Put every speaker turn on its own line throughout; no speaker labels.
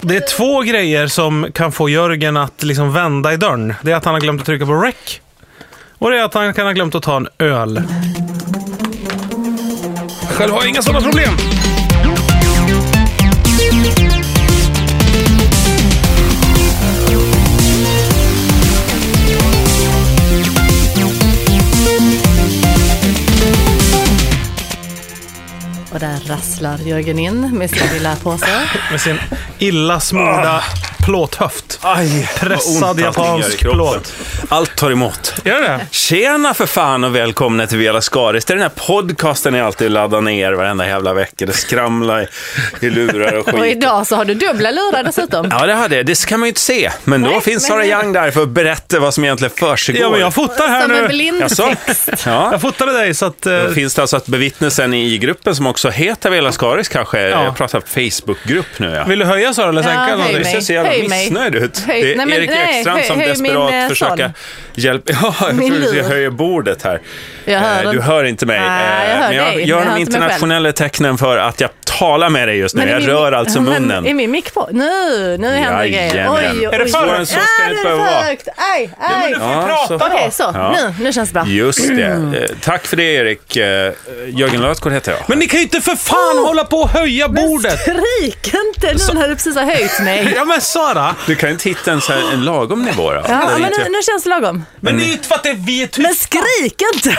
Det är två grejer som kan få Jörgen att liksom vända i dörren. Det är att han har glömt att trycka på rec. Och det är att han kan ha glömt att ta en öl.
Själv har jag inga sådana problem.
Och där rasslar Jörgen in med sin lilla påse.
Med sin illa
Ah.
smorda plåthöft.
Aj, vad
Pressad
ont allting gör i
japansk
kroppen.
plåt.
Allt tar emot.
Gör det?
Tjena för fan och välkomna till Vela Skaris. Det är den här podcasten jag alltid laddar ner varenda jävla vecka. Det skramlar i, i lurar och
Och
skit.
idag så har du dubbla lurar dessutom.
Ja, det hade jag. Det kan man ju inte se. Men då
Nej,
finns
men-
Sara Young där för att berätta vad som egentligen försiggår.
Ja, men jag fotar här
Som en
nu.
blind
Jaså? Ja.
Jag fotade dig så att... eh,
Då finns det alltså att bevittna sen i gruppen som också heter Vela Skaris kanske. Jag pratar Facebookgrupp nu. Ja.
Vill du höja Sara eller
Ja,
sänka
höj
någonting?
Du ser
mig.
så jävla
Höj mig.
missnöjd ut.
Höj-
Det är
Nej, men
Erik
nej,
Ekstrand som
höj- höj min,
desperat
eh,
försöker
son.
hjälpa... Ja, jag
Min
trodde du
lur.
höjer bordet här.
Jag hör
Eh, du
inte.
hör inte mig.
Nej,
Eh,
jag hör
men jag
dig, men
gör
jag
de
hör inte mig
internationella tecknen för att jag talar med dig just nu.
Men är
Jag
min-
rör alltså
Men
munnen.
är min mick på? Nu, nu händer det grejer.
Jajamän.
Oj, oj,
Är det för- Så ska det
Ah,
inte
nu är
behöva vara.
för högt. Aj, aj.
Du får ju
Ja,
prata
Okej,
då.
så.
Ja.
Nu, nu känns det bra.
Just det. Eh, Tack för det, Erik. Eh, Jörgen Lötgård heter jag.
Men ni kan ju inte för fan
Oh.
hålla på och höja bordet!
Skrik inte nu när du precis har höjt mig.
Ja men Sara!
Du kan inte hitta en, så här, en lagom nivå då? Där
Ja, men
inte-
nu, nu känns det lagom.
Men det är ju inte för att det är vi är tysta.
Men skrik inte!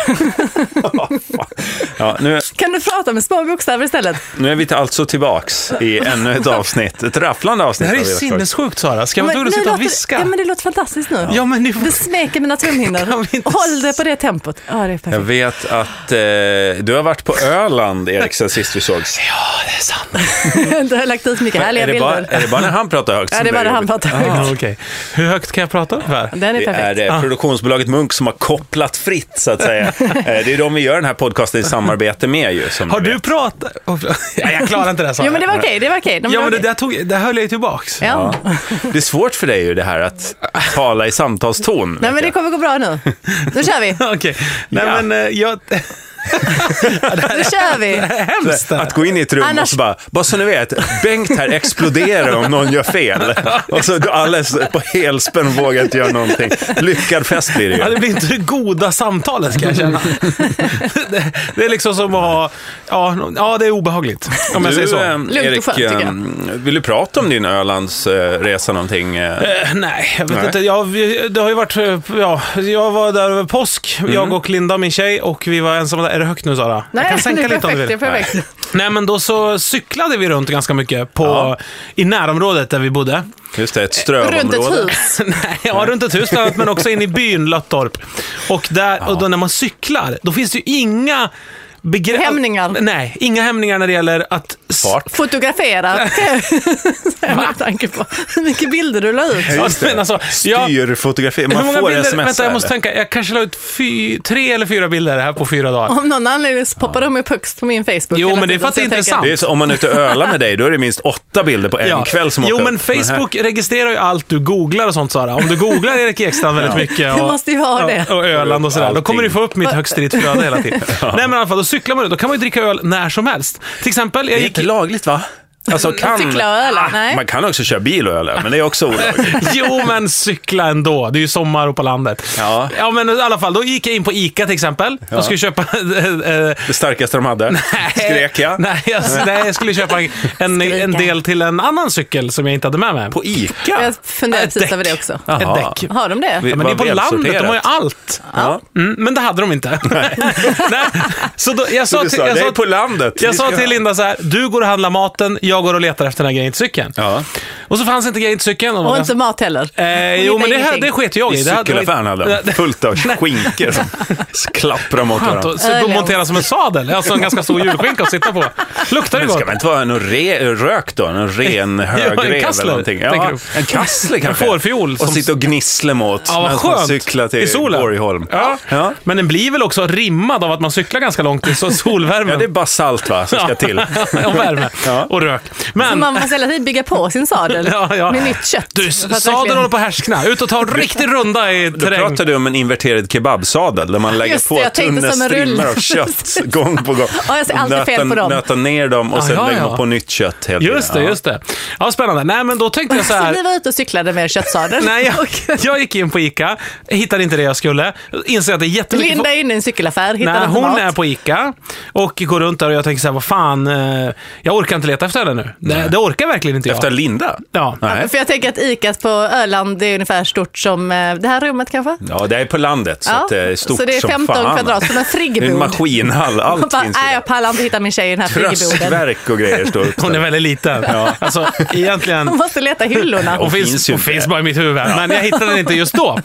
ja, nu,
Kan du prata med små bokstäver istället?
nu är vi till- alltså tillbaks i ännu ett avsnitt. Ett rafflande
Det
avsnitt.
här är
av Vela Skaris.
sinnessjukt Sara. Ska man
Men
tvungen
nu
att sitta och
låter- Ja,
viska?
men det låter fantastiskt nu.
Ja men ni får...
Det smeker mina trumhinnor.
Kan vi inte-
Håll det på det tempot. Ja, det är
Jag
perfekt.
vet att eh, du har varit på Öland, Erik, sen sist vi sågs.
Ja, det är sant.
Du har lagt ut mycket härliga
är, det
bilder.
bara, är det bara när han pratar högt
Ja,
som
det är bara det han
jobbigt?
pratar högt.
Ja, okej. Hur högt kan jag prata ungefär?
Den är
Det
perfekt. Ah.
är eh, produktionsbolaget Munk som har kopplat fritt, så att säga. Eh, det är de vi gör den här podcasten i samarbete med ju. Som
Har
ni
du
vet.
pratat? Oh, förlåt. Nej, jag klarar inte det Sara.
Jo, men det var okej. Det var okej. De
Ja,
var
men det
okej.
där tog, det höll jag ju tillbaks.
Ja.
Det är svårt för dig ju det här att tala i samtalston.
Nej,
vet
men det
jag.
kommer gå bra nu. Nu kör vi.
Okej. Nej,
Ja.
men eh, jag...
Nu kör vi.
Hemskt!
Att gå in i ett rum och
Annars-
så bara, bara så ni vet, Bengt här exploderar om någon gör fel. Och så då alla är så på helspänn vågar inte göra någonting. Lyckad fest blir det ju.
Ja, det blir inte det goda samtalet ska jag känna. det, det är liksom som att ha... Ja, no- ja det är obehagligt. Om jag
du,
säger så.
ehm,
och
Erik,
skönt, tycker jag.
ehm, vill du prata om din Ölandsresa någonting? eh?
Eh, nej, jag vet
Nej.
inte. Jag, vi- det har ju varit... eh, Ja, jag var där över påsk,
Mm.
jag och Linda, min tjej, och vi var ensamma där. Är det högt nu Sara? jag kan sänka
det är
lite om du
perfekt,
vill.
Det är perfekt.
Nej, men då så cyklade vi runt ganska mycket på,
Ja.
i närområdet där vi bodde.
Just det, ett
Eh, Runt ett
strövområde.
hus.
Nej, ja, runt ett hus bland annat, men också in i byn Löttorp. Och, där, och då när man cyklar, då finns det ju inga begrepp...
Hämningar.
Nej, inga hämningar när det gäller att... s-
Fart.
Fotografera. Så här med tanke på hur mycket bilder du la ut.
Ja,
Just det.
men alltså, jag,
Styrfotografi.
hur
Man
många
får
bilder?
sms.
Vänta, jag måste
eller?
tänka. Jag kanske la ut fy, tre eller fyra bilder här på fyra dagar.
Om någon anledning så poppar de upp högst på min Facebook
Jo,
hela
men det är för
tiden,
att
så
det är
jag tänker-
intressant.
det är så, om man är ute och ölar med dig, då är det minst åtta bilder på en kväll som
jo,
åker
men
upp. här-
Facebook registrerar ju allt du googlar och sånt Sara. Om du googlar Erik Ekstrand väldigt mycket
Det
och,
måste ju vara det.
och Öland och sådär, då
Allting.
kommer du få upp mitt högst i ditt flöde hela tiden. Nej men i alla fall, då cyklar man ut. Då kan man ju dricka öl när som helst. Till exempel, jag
Det är
gick...
inte lagligt, va? Alltså,
Mm,
kan...
Cykla och
Ah,
öla, nej.
Man kan också köra bil och öla, men det är också olagligt.
Jo, men cykla ändå. Det är ju sommar och på landet.
Ja.
ja, men i alla fall. Då gick jag in på ICA till exempel. Jag skulle köpa... eh, eh,
Det starkaste de hade. Skrek jag.
Nej, jag, nej, jag skulle köpa en, en del till en annan cykel som jag inte hade med mig.
På ICA?
Jag funderar
Ett
precis
däck.
över det också.
Jaha.
Ett däck.
Har de det?
Vi-
Ja, men det är på
Vad
landet, de har ju
välsorterat.
allt.
Ja.
Mm, men det hade de inte. Nej. Så då, jag
Så
sa,
du
till,
sa,
jag
det
sa,
är på landet.
jag
Vi
sa
ska-
till Linda så här, du går och handlar maten, jag går och letar efter den här grejen till cykeln.
Ja.
Och så fanns inte grejen till cykeln.
Och inte mat heller.
Eh, jo, men det, här- det sket jag i.
I
Det hade-
cykelaffären hade
det-
han fullt av skinkor som klapprar mot
Skönt
varandra.
att så
Ölen.
montera som en sadel. Alltså en ganska stor julskinka att sitta på. Luktar det
Men
gott?
ska man inte vara någon re, rök då? Någon ren högrev eller
kassler,
någonting?
tänker du?
en kassler kanske.
fårfiol
Och
som-
sitta och gnissla mot
Ja, vad
medan man
skönt.
cyklar
I
till
solen.
Borgholm.
Ja.
Ja.
Men den blir väl också rimmad av att man cyklar ganska långt i så- solvärmen.
Ja, det är basalt va, som ska till.
och värme
Ja.
och rök. Men,
Man måste hela tiden bygga på sin sadel. bil
Ja, ja.
med nytt kött.
Du,
För att
sadeln
verkligen-
håller på att härskna. Ut och ta en riktig runda i
Då
terräng.
pratar du om en inverterad kebabsadel där man lägger
Just det,
på
jag tänkte
tunna
som en rulle.
strimmor av kött gång på gång.
Ja, jag ser alltid fel
Nöta-
på dem.
Nöta ner dem och
Ah,
sen
ja,
lägger
ja.
man på nytt kött hela
Just det,
tiden. Ja.
just det. Ja, spännande. Nej, men då tänkte jag så
Så
här.
ni var ute och cyklade med köttsadeln?
Nej,
Och
jag, jag gick in på Ica, hittade inte det jag skulle. Inser att det är jättemycket
Linda är inne i en cykelaffär, hittar
Nej,
inte
hon
mat.
är på Ica och går runt där och jag tänker så här, vad fan, eh, jag orkar inte leta efter henne nu. Det, det orkar verkligen inte jag.
Efter Linda?
Ja.
Nej.
För jag tänker att ICA på Öland det är ungefär stort som eh, det här rummet kanske?
Ja, det är på landet så att det är stort
så det är
som
15
fan.
kvadrat, som en friggebod.
En maskinhall,
Hon
allt
bara,
finns i
nej
det.
jag pallar inte hitta min tjej i den här friggeboden.
Tröskverk och grejer står
Hon är
uppställda.
väldigt liten. Alltså, egentligen.
Hon måste leta hyllorna.
Hon
Hon
finns,
finns ju
hon
inte.
finns bara i mitt huvud, men jag hittade den inte just då.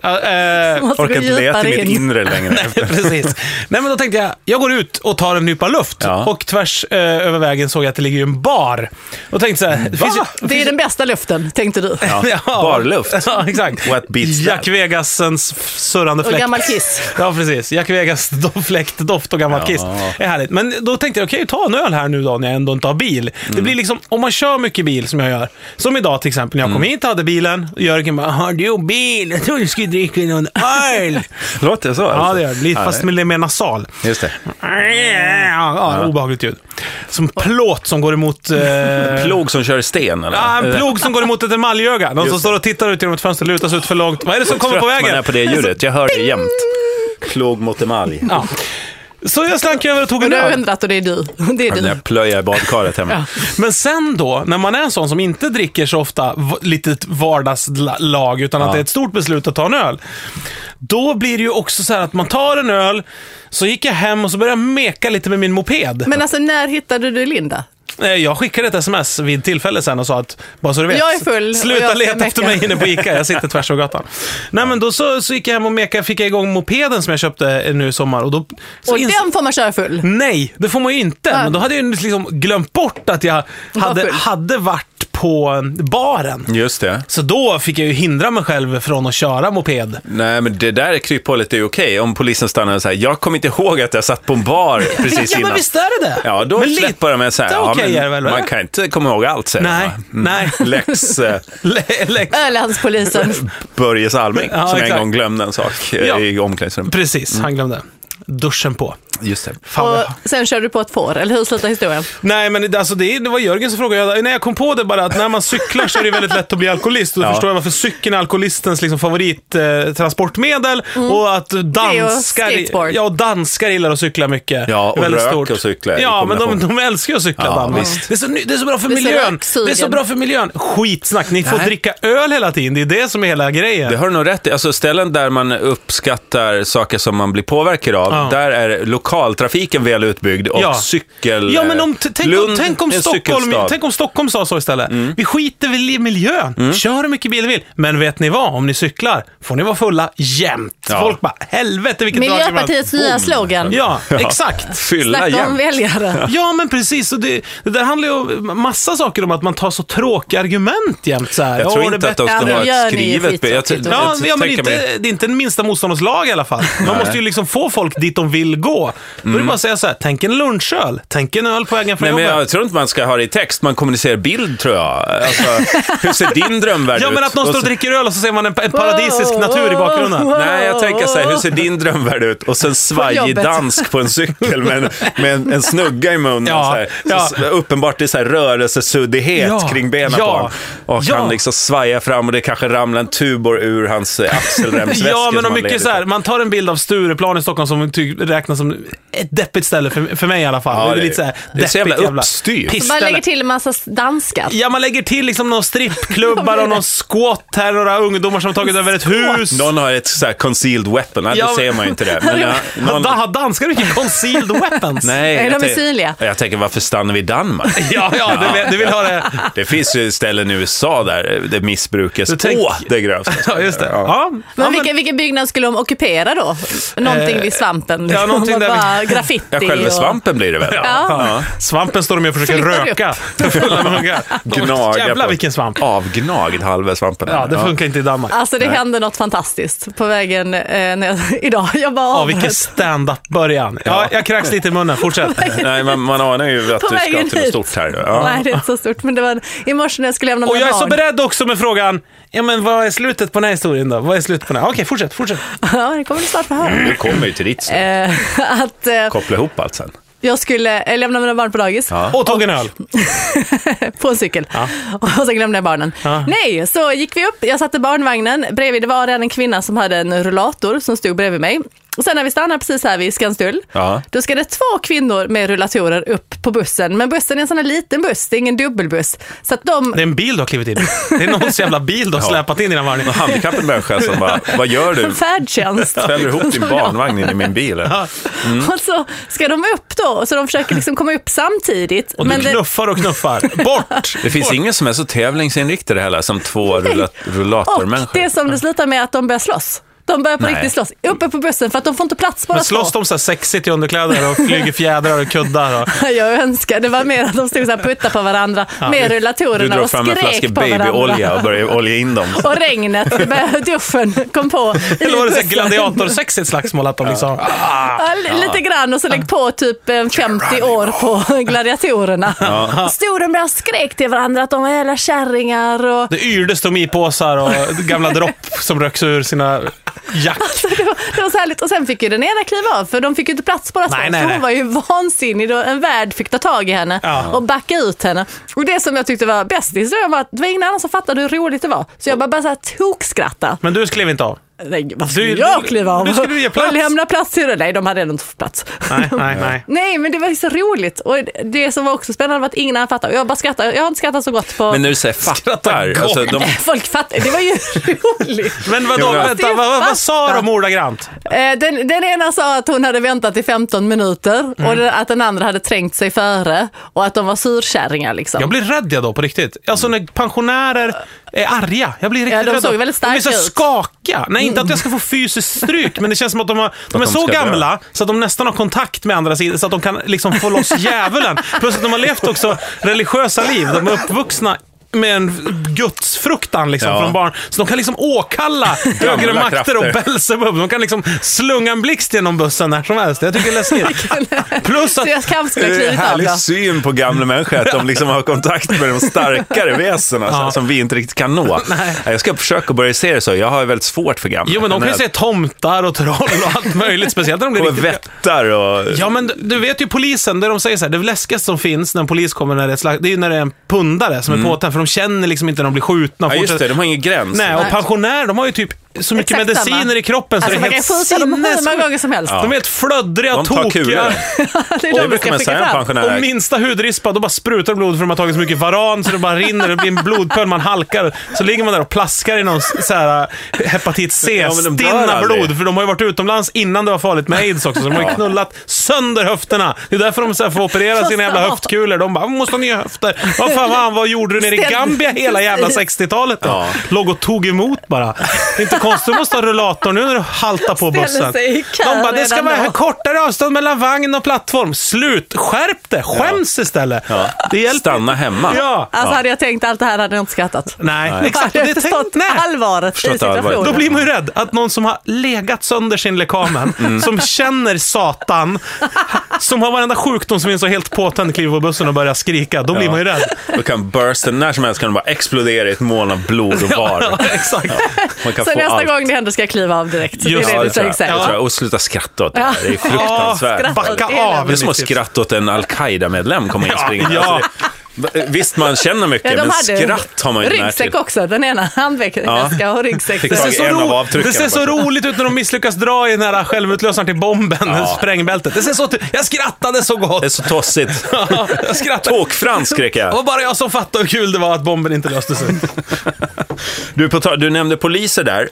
Ja, eh,
Hon måste gå
Orkar inte leta i
djupare
mitt
in.
inre längre.
Precis. Nej, men då tänkte jag, jag går ut och tar en nypa luft.
Ja.
Och tvärs eh, över vägen såg jag att det ligger ju en bar. Och tänkte så här, det finns ju...
Det är den bästa luften, tänkte du.
Ja, barluft.
Ja, exakt.
What beats that?
Jack Vegasens f- surrande
Och
fläkt.
gammal kiss.
Ja, precis. Jack Vegas do- fläkt, doft och gammal
Ja.
kiss. är härligt. Men då tänkte jag, okej, ta en öl här nu då när jag ändå inte har bil. Det
Mm.
blir liksom, om man kör mycket bil som jag gör. Som idag till exempel, när jag kom
Mm.
hit och hade bilen. Och Jörgen bara, har du bil? Jag trodde du skulle dricka någon öl.
Låter det så?
ja,
alltså?
det gör det. Lite-
Ja,
Fast
nej.
med mer nasal.
Just det.
Ja, obehagligt ljud. Som plåt som går emot... Eh,
Plog som kör sten eller?
Ja, en plog som går emot ett emaljöga. Någon som
Just
står och tittar ut genom ett fönster, lutar sig ut för långt. Vad är det som kommer på
Trött Man är
vägen? Alltså,
på det ljudet, jag hör det jämt. Plog mot emalj.
Ja. Så jag slank över och tog
Men
en
du har
öl.
ändrat och det är du. Det är
När
du.
jag plöjer i badkaret hemma.
Men sen då, när man är en sån som inte dricker så ofta v- litet vardagslag, utan att
Ja.
det är ett stort beslut att ta en öl. Då blir det ju också så här att man tar en öl, så gick jag hem och så började jag meka lite med min moped.
Men alltså när hittade du Linda?
Eh, Jag skickade ett sms vid tillfälle sen och sa att, bara så du vet,
Jag är full och
sluta
jag ska
leta
mecka.
efter mig inne på ICA, jag sitter tvärs över gatan. Nej men då så, så gick jag hem och meka, fick jag igång mopeden som jag köpte eh, nu i sommar. Och då, så
Och
ins-
den får man köra full.
Nej, det får man ju inte. Men då hade jag ju liksom glömt bort att jag hade,
full.
hade varit på baren.
Just det.
Så då fick jag ju hindra mig själv från att köra moped.
Nej, men det där kryphålet är ju okej. Om polisen stannar och säger, jag kommer inte ihåg att jag satt på en bar precis
ja, men
innan.
visst är det det?
Ja, då
men
släpper de en så här,
lite
ja,
okej är det
men
väl,
man
va?"
kan inte komma ihåg allt säger
Nej,
de, va? Mm.
nej.
Lex eh,
Le- le-
Ölandspolisen.
Börje Salming,
Ja,
som en
exakt.
gång glömde en sak eh,
Ja.
i omklädningsrummet.
Precis, han glömde. Duschen på.
Just det.
Fan, vad-
Och sen körde du på ett får, eller hur slutar historien?
Nej, men det- alltså det, det var Jörgen som frågade. Jag, när jag kom på det bara att när man cyklar så är det väldigt lätt att bli alkoholist. Då
Ja.
förstår jag varför cykeln är alkoholistens liksom, favorittransportmedel. Eh, transportmedel.
Mm.
Och att danskar,
skateboard.
ja, och danskar gillar att cykla mycket.
Ja, och
Det är väldigt
rök och cykla i
Ja, men de,
kombination.
de älskar ju att cykla,
Ja,
danskarna.
visst.
Det, är så, ny- det är så bra för
Det är så
miljön.
röksugen.
Det är så bra för miljön. Skitsnack. Ni får
Nej.
dricka öl hela tiden. Det är det som är hela grejen.
Det har du nog rätt i. Alltså ställen där man uppskattar saker som man blir påverkad av,
Ja.
där är lokaltrafiken väl utbyggd och
Ja.
cykel...
Ja, men om, t- tänk, om,
Lund,
tänk, om
en
Stockholm,
cykelstad. Mm.
tänk om Stockholm sa så istället. Vi skiter väl i miljön. Kör hur mycket bil ni vill. Men vet ni vad? Om ni cyklar får ni vara fulla jämt.
Ja.
Folk bara, helvete vilket drag det var."
Miljöpartiets nya slogan.
Ja,
Ja.
exakt.
Fylla
Snacka om
jämt.
väljare.
Ja, men precis. Och det, det där handlar ju om massa saker om att man tar så tråkiga argument jämt. Så här.
Jag
Ja,
tror
det
inte att de
bästa-
ska
Ja,
ha
men gör
ett
ni
skrivet...
skit-
Jag, t- jag,
Ja,
t-
ja men
tänker
inte,
mig-
det är inte en minsta motståndarslag i alla fall. Man måste ju liksom få folk dit de vill gå. Då är det bara att säga så här, tänk en lunchöl, tänk en öl på vägen från
Mm. Nej, men
jobbet.
jag tror inte man ska ha det i text. Man kommunicerar bild, tror jag. Alltså, hur ser din drömvärld
Ja,
ut?
men att någon
Och
står och
så-
dricker öl och så ser man en, en paradisisk
Wow,
natur i
wow.
bakgrunden.
Nej, jag tänker så här, hur ser din drömvärld ut? Och sen svajig
jobbet.
dansk på en cykel med en, med en, en snugga i munnen.
Ja,
så här. Så,
ja.
så, uppenbart det är så här rörelsesuddighet
Ja,
kring benen
ja,
på honom. Och
ja.
han liksom svajar fram och det kanske ramlar en tubor ur hans eh, axelremsväska.
Ja, men och
som han leder
mycket så här,
på.
man tar en bild av Stureplan i Stockholm som ty- räknas som ett deppigt ställe för, för mig i alla fall.
Ja,
det är
det är-
lite så här,
det är så jävla
deppigt
uppstyrt.
Man
pissställe.
lägger till en massa danskar.
Ja, man lägger till liksom några strippklubbar och någon squat här, några ungdomar som har tagit över ett hus.
Någon har ett så här concealed weapon. Nej,
Ja,
då
men-
ser man ju inte det. Men, ja, någon...
Da- Har danskar mycket concealed weapons?
Nej,
Är
jag
de
tänk-
synliga?
Jag tänker, varför stannar vi i Danmark?
Ja, ja, du, vill, du vill ha det.
Det finns ju ställen i USA där det missbrukas
Du tänk-
å det grövsta.
Ja, just det. Ja. Ja,
Men vilken, vilken byggnad skulle de ockupera då? Någonting vid svampen. Liksom.
någonting
Och
där vi-
bara graffiti.
Ja, själva
och-
svampen blir det väl?
Ja.
Svampen står de och försöker
Flyttar upp.
röka för fulla muggar.
Gnaga
Jävlar
på-
vilken svamp.
Avgnagd halva svampen.
Ja, det funkar inte i Danmark.
Alltså det hände något fantastiskt på vägen eh, när jag, idag. Jag bara
Ja,
avbröt.
vilken stand-up-början. Ja, jag kräks lite i munnen. Fortsätt.
Nej, man, man anar ju att
På
du ska
vägen
till något
hit.
stort här. Ja.
Nej, det är inte så stort. Men det var i morse när jag skulle lämna
Och jag är så
barn.
beredd också med frågan, ja men vad är slutet på den här historien då? Vad är slutet på den här? Okej, fortsätt, fortsätt.
Ja, det kommer du snart få höra.
Du kommer ju till ditt snart.
Mm.
Eh, att eh,
Koppla ihop allt sen.
jag skulle eh, lämna mina barn på dagis.
Och tog en öl.
på en cykel. Och så glömde jag barnen.
Ja.
Nej, så gick vi upp, jag satte barnvagnen bredvid, det var redan en kvinna som hade en rullator som stod bredvid mig. Och sen när vi stannar precis här vid Skanstull,
Ja.
då ska det två kvinnor med rullatorer upp på bussen. Men bussen är en sån här liten buss, det är ingen dubbelbuss. Så att de,
Det är en bil du har klivit in i. Det är någons jävla bil du har
Ja.
släpat in i den varje.
Handikappad människa som bara, vad gör du?
färdtjänst.
Fäller ihop din barnvagn in i min bil. här.
Mm.
Och så ska de upp då, så de försöker liksom komma upp samtidigt.
Och du knuffar och knuffar. Bort!
Det finns ingen som är så tävlingsinriktad heller som två rullat-
och
rullatormänniskor.
det som det slutar med är att de börjar slåss. De börjar på
Nej.
riktigt slåss, uppe på bussen för att de får inte plats bara
Men slåss de så här sexigt i underkläder och flyger fjädrar och kuddar? Och...
Jag önskar, det var mer att de stod så här putta på varandra med
Du
rullatorerna
drar
och
fram en flaska
skrek på varandra.
babyolja och börjar olja in dem.
Och regnet, det började- duschen kom på. i
Eller var det så här
bussen.
gladiatorsexigt slagsmål att de liksom...
Ja, li- lite grann och så lägg på typ eh, 50 år på gladiatorerna. Stod de där och skrek till varandra att de var jävla kärringar och
Det yrdes stomipåsar och gamla dropp som röks ur sina jack.
Så det, var, det var så härligt. Och sen fick ju den ena kliva av för de fick ju inte plats båda två.
Nej,
Så
nej,
hon
nej.
var ju vansinnig då en värd fick ta tag i henne
Ja.
och backa ut henne. Och det som jag tyckte var bäst i historien var att det var ingen annan som fattade hur roligt det var. Så jag bara, bara så här tokskratta.
Men du skrev inte av?
Nej, varför skulle
Du-
jag
du-
kliva av?
du skulle ge plats.
Och lämna plats till det. Nej, de hade ändå inte fått plats.
Nej, nej, nej.
Nej, men det var ju så roligt. Och det som var också spännande var att ingen annan fattade. Och jag bara skrattade. Jag har inte skrattat så gott på...
Men när du säger fattar, alltså, de,
Folk fattade. Det var ju roligt.
Men vadå,
Jo, men-
vänta, vad, vad, vad sa de ordagrant?
Eh, Den, den ena sa att hon hade väntat i 15 minuter och
Mm.
den, att den andra hade trängt sig före och att de var surkärringar liksom.
Jag blir rädd jag då på riktigt. Alltså när pensionärer är arga. Jag blir riktigt
Ja, de
rädd.
såg
då.
väldigt
de är så
starka ut. Mm.
skaka. Nej, inte att jag ska få fysiskt stryk, men det känns som att de, har, de är
de
så
ska dö.
gamla så att de nästan har kontakt med andra sidan så att de kan liksom få loss djävulen. Plus att de har levt också religiösa liv. De är uppvuxna med en gudsfruktan liksom
Ja.
från barn. Så de kan liksom åkalla högre
Gamla
makter och
krafter.
Belsebub. De kan liksom slunga en blixt genom bussen när som helst. Jag tycker det är läskigt. Plus att
Så jag kanske skulle ha
det är
klivit av
härlig
då.
syn på gamla människor, att de liksom har kontakt med de starkare väsena
Ja.
så- som vi inte riktigt kan nå. Jag ska försöka börja se det så, jag har väldigt svårt för gamla.
Jo, men de kan ju
att-
se tomtar och troll och allt möjligt. Speciellt när de blir
Och
riktigt...
vättar och...
Ja, men du- du vet ju polisen, där de säger så här, det läskigaste som finns när en polis kommer, när det är, ett slag, det är ju när det är en pundare som är påtänd, för de känner liksom inte när de blir skjutna. och
Mm. Ja, just
fortsätter-
det, de har ingen gräns.
Nej, och pensionärer, de har ju typ så mycket
Exakt
mediciner
samma.
i kroppen så
Alltså
det
man
är
kan
helt
skjuta dem hur många
sinnessjukt.
gånger som helst.
De är helt flöddriga,
De tar
tokiga.
kulor.
Det är
Det
de vi
brukar
ska
man säga
skicka
om
fram.
Och
pensionärer.
minsta hudrispa, då bara sprutar blod för de har tagit så mycket varan så det bara rinner, det blir en blodpöl, man halkar. Så ligger man där och plaskar i någon så här eh, hepatit
Ja, men de dör
C-stinna
aldrig.
blod. För de har ju varit utomlands innan det var farligt med aids också, så de har ju knullat sönder höfterna. Det är därför de så här får operera sina jävla höftkulor. De bara, "Vi måste ha nya höfter. Vad fan, vad, vad gjorde du nere i
Ställ-
Gambia hela jävla 60-talet då? Låg och tog emot bara. Det är inte konstigt, du måste ha rullator nu när du haltar på
Ställer
bussen.
sig i kö
De bara, det ska
redan
vara
då."
kortare avstånd mellan vagn och plattform. Slut! Skärp det! Skäms istället. Det hjälper.
Stanna hemma.
Ja.
Alltså hade jag tänkt allt det här hade jag inte skrattat.
Nej, exakt.
Hade
Och
jag
Det
förstått
tänkt, nej.
allvaret i
Förstått allvaret.
situationen.
Då blir man ju rädd att någon som har legat sönder sin lekamen,
Mm.
som känner Satan, som har varenda sjukdom som finns och helt påtänd kliver på bussen och börjar skrika. Då blir man ju rädd.
Då kan bursten, när som helst kan den bara explodera i ett moln av blod och var.
exakt.
Man kan
Så
få
nästa
allt.
gång det händer ska jag kliva av direkt. Så
Just
det
Ja,
är det
det
du
tror
säger. säkert.
jag. Det tror jag. Och sluta skratta åt det här. Det är
Ja,
fruktansvärt.
Ah, backa
Det är
av.
Det är som att skratta åt en al-Qaida-medlem kommer in
Ja,
springande.
ja.
Alltså, det- Visst, man känner mycket, men skratt har man ju inte
ryggsäck också. Den ena handväska och ryggsäck.
Fick
Det
tag i
ser så-
så
en
ro-
av avtrycken. alltså.
Det ser så roligt ut när de misslyckas dra i den här självutlösaren till bomben, sprängbältet. Det ser så jag skrattade så
Det är
gott.
så tossigt.
jag skrattade.
Tåkfrans skrek
Det var
jag.
bara jag som fattade hur kul det var att bomben inte löstes ut.
Du, på ta- du nämnde poliser där,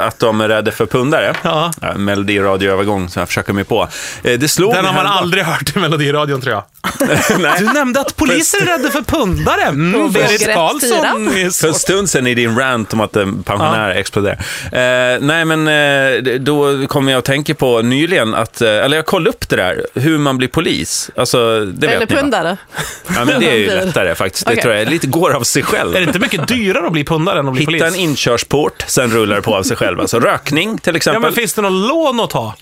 eh, att de är rädda för pundare.
Ja.
Melodiradioövergång som jag försöker mig på. Eh, det slog
Den
mig
har man
häromdagen-
aldrig hört i Melodiradion tror jag.
Nej.
Du nämnde att poliser är rädda för pundare. Mm, Berit
Vågrätt
Karlsson.
fyra.
är
För
så-
en stund sedan i din rant om att eh, pensionärer exploderar. Eh, nej, men eh, det- då kom jag att tänka på nyligen att, eh, eller jag kollade upp det där, hur man blir polis. Alltså, det
Eller
vet ni, va?
pundare.
Ja, men det är ju
Blir.
lättare faktiskt. Det
Okej.
tror jag lite går av sig själv.
Är det inte mycket dyrare att bli pundare än att bli
Hitta en
polis?
inkörsport, sen rullar det på av sig själv. Alltså rökning till
Ja,
exempel.
men finns det någon lån att ta?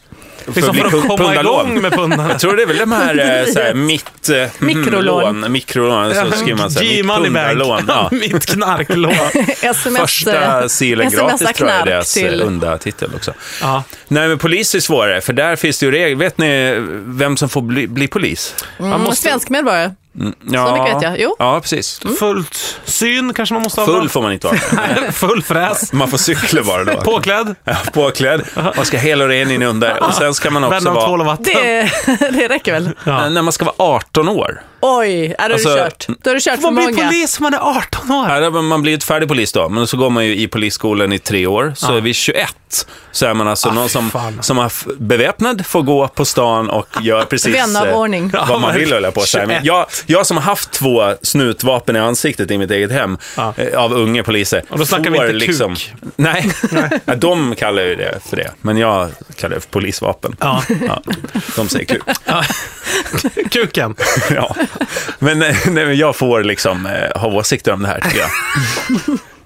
Liksom
bli
för
pund-
att komma
pundarlån.
igång med pundarna?
jag tror det är väl de här, eh, så här mitt... eh, mm,
Mikrolån.
lån, Mikrolån, så skriver man så här, mitt
G-money
pundarlån.
bank.
Ja.
Mitt knarklån.
Sms, eh,
Första silen gratis
smsa
tror jag är
knark
deras till...
till-
unda titel också.
Ja.
Nej, men polis är svårare, för där finns det ju regler. Vet ni vem som får bli, bli polis?
Mm, Svensk medborgare.
Ja.
mycket vet jag. Jo.
Ja, precis.
Mm. Fullt syn kanske man måste ha.
Full får man inte vara.
Full fräs.
Man får cykla bara då.
Påklädd.
Ja, Påklädd. Man ska hel och ren in under. Och sen ska man också
Vända av tvål och
vara...
vatten.
Det, det räcker väl?
Ja.
När man ska vara 18 år.
Oj, ja, då har
Alltså,
du kört. Då har du kört för
Man blir
många.
polis om man är 18 år.
Ja, då- Man blir ju ett färdig polis då, men så går man ju i polisskolan i tre år. Så vid 21 så är man alltså någon
Ah, fy
som,
fan. Ah,
som är f- beväpnad, får gå på stan och gör precis
Vän av
eh,
ordning.
Ja,
vad man vill
verkligen.
höll jag på att säga. Men
21.
jag, jag som har haft två snutvapen i ansiktet i mitt eget hem
Ja.
eh, av unga poliser.
Och då snackar vi
får liksom-
inte kuk.
Nej, ja, de kallar ju det för det, men jag kallar det för polisvapen.
Ja.
Ja, de säger kul.
Kuken.
Ja. Men, eh, nej, men jag får liksom eh, ha åsikter om det här, tycker jag.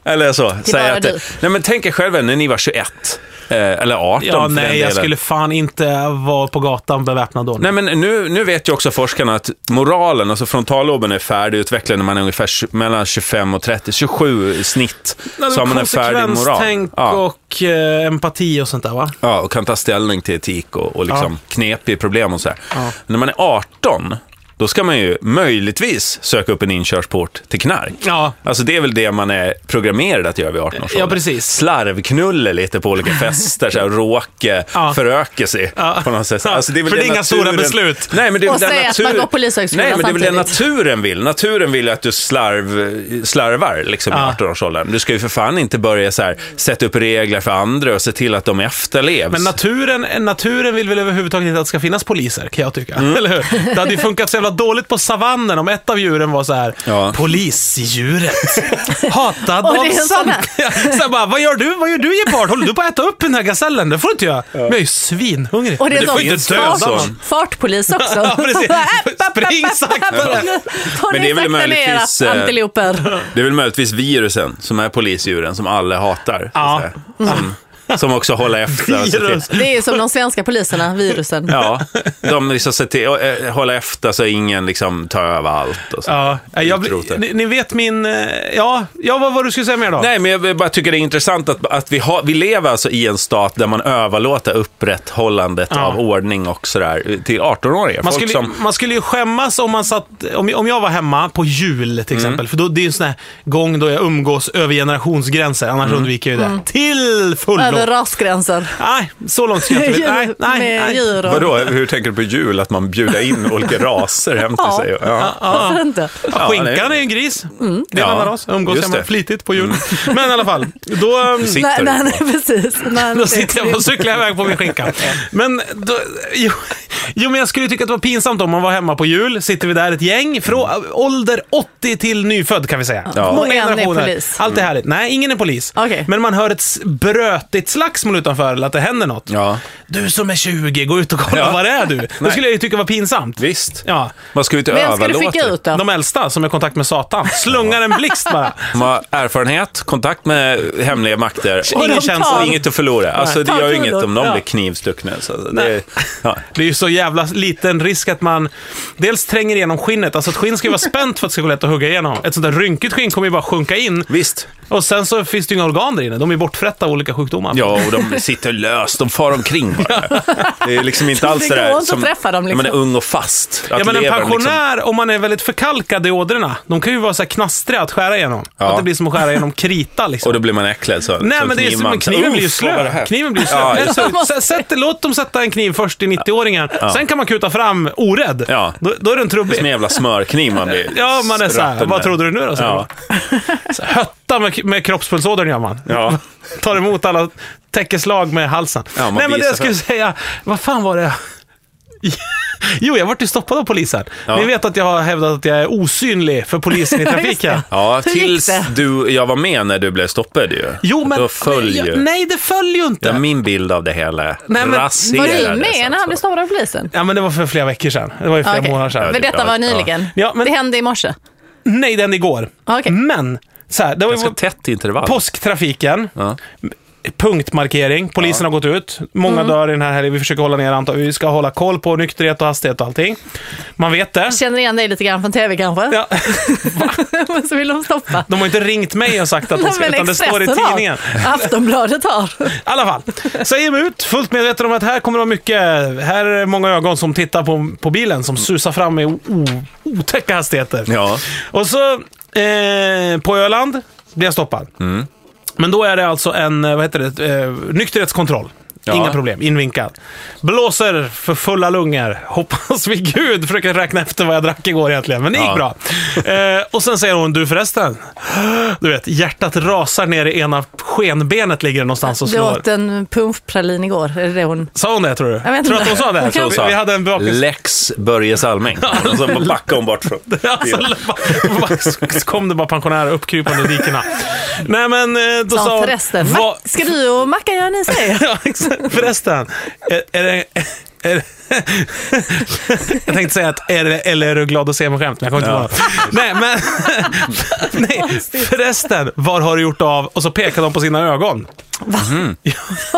Eller så.
är
Säga
bara
att, det-
du.
nej, men tänk er själva när ni var 21. Eh, eller 18
Ja,
för den
nej,
delen.
jag skulle fan inte vara på gatan beväpnad då.
Nej, men nu, nu vet ju också forskarna att moralen, alltså frontalloben är färdigutvecklad när man är ungefär tj- mellan 25 och 30, 27 i snitt. så har man en färdig moral.
Konsekvenstänk
Ja,
och eh, empati och sånt där va?
ja, och kan ta ställning till etik och, och liksom knepiga problem och så här. När man är 18, då ska man ju möjligtvis söka upp en inkörsport till knark.
Ja.
Alltså det är väl det man är programmerad att göra vid 18 års
Ja,
ålder.
precis.
Slarvknulle lite på olika fester, så här, råke,
Ja.
föröka sig
Ja.
på något sätt. Alltså,
För
den
det är inga stora beslut.
Nej, men det är
Och
väl den
säga att man
natur-
går polishögskolan
Nej, men det är väl det
samtidigt.
naturen vill. Naturen vill att du slarv, slarvar liksom, i
Ja.
18-årsåldern. Du ska ju för fan inte börja så här, sätta upp regler för andra och se till att de efterlevs.
Men naturen, naturen vill väl överhuvudtaget inte att det ska finnas poliser, kan jag tycka. Eller hur? Det hade ju funkat så jävla dåligt på savannen om ett av djuren var så här,
Ja.
polisdjuret, hatad
Och
av
det är en sån här.
samtliga. Så här bara, vad gör du? Vad gör du Gepard? Håller du på att äta upp den här gazellen? Det får du inte göra. Men jag är ju svinhungrig.
Och det
Men
är
du får ju
sån
inte döda
fart,
någon.
fartpolis också.
Ja, precis. Spring saktare.
Men det är väl möjligtvis...
eh,
Antiloper.
Det är väl möjligtvis virusen som är polisdjuren som alla hatar. så
Ja.
att säga. Som, som också håller efter. och ser till-
Virus.
Det är som de svenska poliserna, virusen.
Ja, de liksom ser till och, eh, hålla efter så ingen liksom tar över allt. Och så.
Ja, eh, jag,
Utrotar.
blir- ni, ni vet min... eh, Ja, ja vad var du skulle säga mer då?
Nej, men jag vill bara tycker det är intressant att, att vi, har, vi lever alltså i en stat där man överlåter upprätthållandet
Ja.
av ordning och sådär till 18-åringar.
Man
Folk
skulle,
som...
man skulle ju skämmas om, man satt, om, om jag var hemma på jul till
Mm.
exempel. För då, det är ju en sån här gång då jag umgås över generationsgränser. Annars
Mm.
undviker jag ju det. Till
Över
fullo.
rasgränser.
Nej, så långt ska jag inte Nej,
Djur-
nej,
med
nej.
djur och...
Vadå, hur tänker du på jul? Att man bjuder in olika raser hem till
Ja.
sig? Ja.
Varför inte?
Ja,
Ja,
Skinkan
det-
är ju en gris. Det är en
Ja,
annan ras. Jag Umgås
just
hemma
det. Mm.
flitigt på jul. Men i alla fall, då... ehm,
Sitter
Nej,
du
nej,
på?
nej, precis. Nej,
Då
det-
sitter jag och cyklar iväg på min skinka. Men då, jo, jo, men jag skulle tycka att det var pinsamt om man var hemma på jul. Sitter vi där ett gäng, från ålder 80 till nyfödd kan vi säga. Många
Ja.
Mm. Och en är
generationer.
polis. Mm.
Allt är härligt. Nej, ingen är polis.
Okej.
Men man hör ett s- brötigt slagsmål utanför, eller att det händer något.
Ja.
Du som är 20, gå ut och kolla
Ja.
vad det är du. Det
Nej.
skulle jag ju tycka var pinsamt.
Visst.
Ja.
Man ska ju inte
Vem ska du
överlåta.
skicka ut då?
De äldsta som är i kontakt med Satan. Slungar en blixt bara.
De har erfarenhet, kontakt med hemliga makter.
Och
Ingen
de
känsla.
tar-
Inget att förlora. Alltså, det
Tar
gör ju
kulor.
inget om de
Ja.
blir knivstuckna. Så det, ja.
Det är ju så jävla liten risk att man dels tränger igenom skinnet, alltså ett skinn ska ju vara spänt för att det ska gå lätt att hugga igenom. Ett sånt där rynkigt skinn kommer ju bara sjunka in
Visst.
och sen så finns det ju inga organ där inne, de är bortfrätta av olika sjukdomar. fan.
Ja, och de sitter löst. De far omkring bara. Det är liksom inte alls
Det
det
går
där
inte att träffa dem, liksom.
när man är ung och fast. Att
Ja, men en
levern liksom-
pensionär, om man är väldigt förkalkad i ådrorna, de kan ju vara så här knastriga att skära igenom.
Ja.
Att det blir som att skära igenom krita liksom.
Och då blir man äcklad. Så,
Nej,
så
men det är
kniv
som,
man-
men kniven blir ju
Uff, vad var det här?
slö. Kniven blir ju slö.
Ja,
Nej,
just
så-
det.
så- sätt- Låt dem sätta en kniv först i 90-åringen. Sen kan man kuta fram orädd.
Ja.
Då, då är den
Det är Som en
trubbig.
jävla smörkniv man blir.
Ja, man är så här.
ratten
Vad
med."
trodde du nu då? säger
Ja.
man. Så Hötta med, med kroppspulsådern gör man.
Ja.
Tar emot alla täckeslag med halsen.
Ja, man
Nej, men det
visar
jag skulle
för-
säga. Vad fan var det? Jo, jag vart ju stoppad av polisen.
Ja.
Ni vet att jag har hävdat att jag är osynlig för polisen i trafiken.
Ja,
Hur gick
tills
det?
du, jag var med när du blev stoppad ju.
Jo, men...
Då föll
Ja,
ju.
Nej, det föll ju inte.
Det är min bild av det hela.
Nej, men-
Var
raserades
du med när han blev
alltså.
stoppad av polisen?
Ja, men det var för flera veckor sedan. Det var ju flera
Okej.
månader sedan.
det
Men
är
detta
bra.
var nyligen.
Ja, men- Mm.
Det hände i morse.
Nej, den igår.
Ah, okej.
Men, så här, det var ju
Ganska tätt intervall.
påsktrafiken.
Ja.
Punktmarkering, polisen har gått ut. Många
Mm.
dör i den här helgen. Vi försöker hålla ner antal. Vi ska hålla koll på nykterhet och hastighet och allting. Man vet det.
Känner igen dig lite grann från tv kanske?
Ja,
Men så vill de stoppa.
de har inte ringt mig och sagt att de ska,
Men
utan det står i
Expressen har.
tidningen.
Aftonbladet har.
I alla fall. Så jag ger mig ut, fullt medveten om att här kommer det vara mycket, här är många ögon som tittar på, på bilen som susar fram i o, o, otäcka hastigheter.
Ja.
Och så eh, på Öland blir jag stoppad.
Mm.
Men då är det alltså en eh, vad heter det, eh, nykterhetskontroll.
Ja.
Inga problem, invinkad. Blåser för fulla lungor. Hoppas vid gud försöker räkna efter vad jag drack igår egentligen, men det gick
Ja.
bra. Eh, och sen säger hon, du förresten. Du vet, hjärtat rasar ner i ena skenbenet ligger det någonstans och
Du
slår.
åt en pumppralin igår. Är det det hon...
Sa hon det tror du?
Jag vet
tror du att
inte.
hon sa det?
Jag tror hon
Vi-
sa.
Vi hade en bakis...
Lex Börje Salming. Och så backade hon bort från
Alltså, bara- så kom det bara pensionärer uppkrypande i dikena. Nej men eh, då
Sa
sa
hon
hon...
förresten.
"Va-
Mac- Ska du och Mackan göra en ny serie?
Ja, exakt. Förresten, är, är det... Är, jag tänkte säga att är det, eller är du glad att se mig skämt, men jag kommer inte på det. Nej, men... nej, förresten, var har du gjort av... Och så pekade de på sina ögon.
Har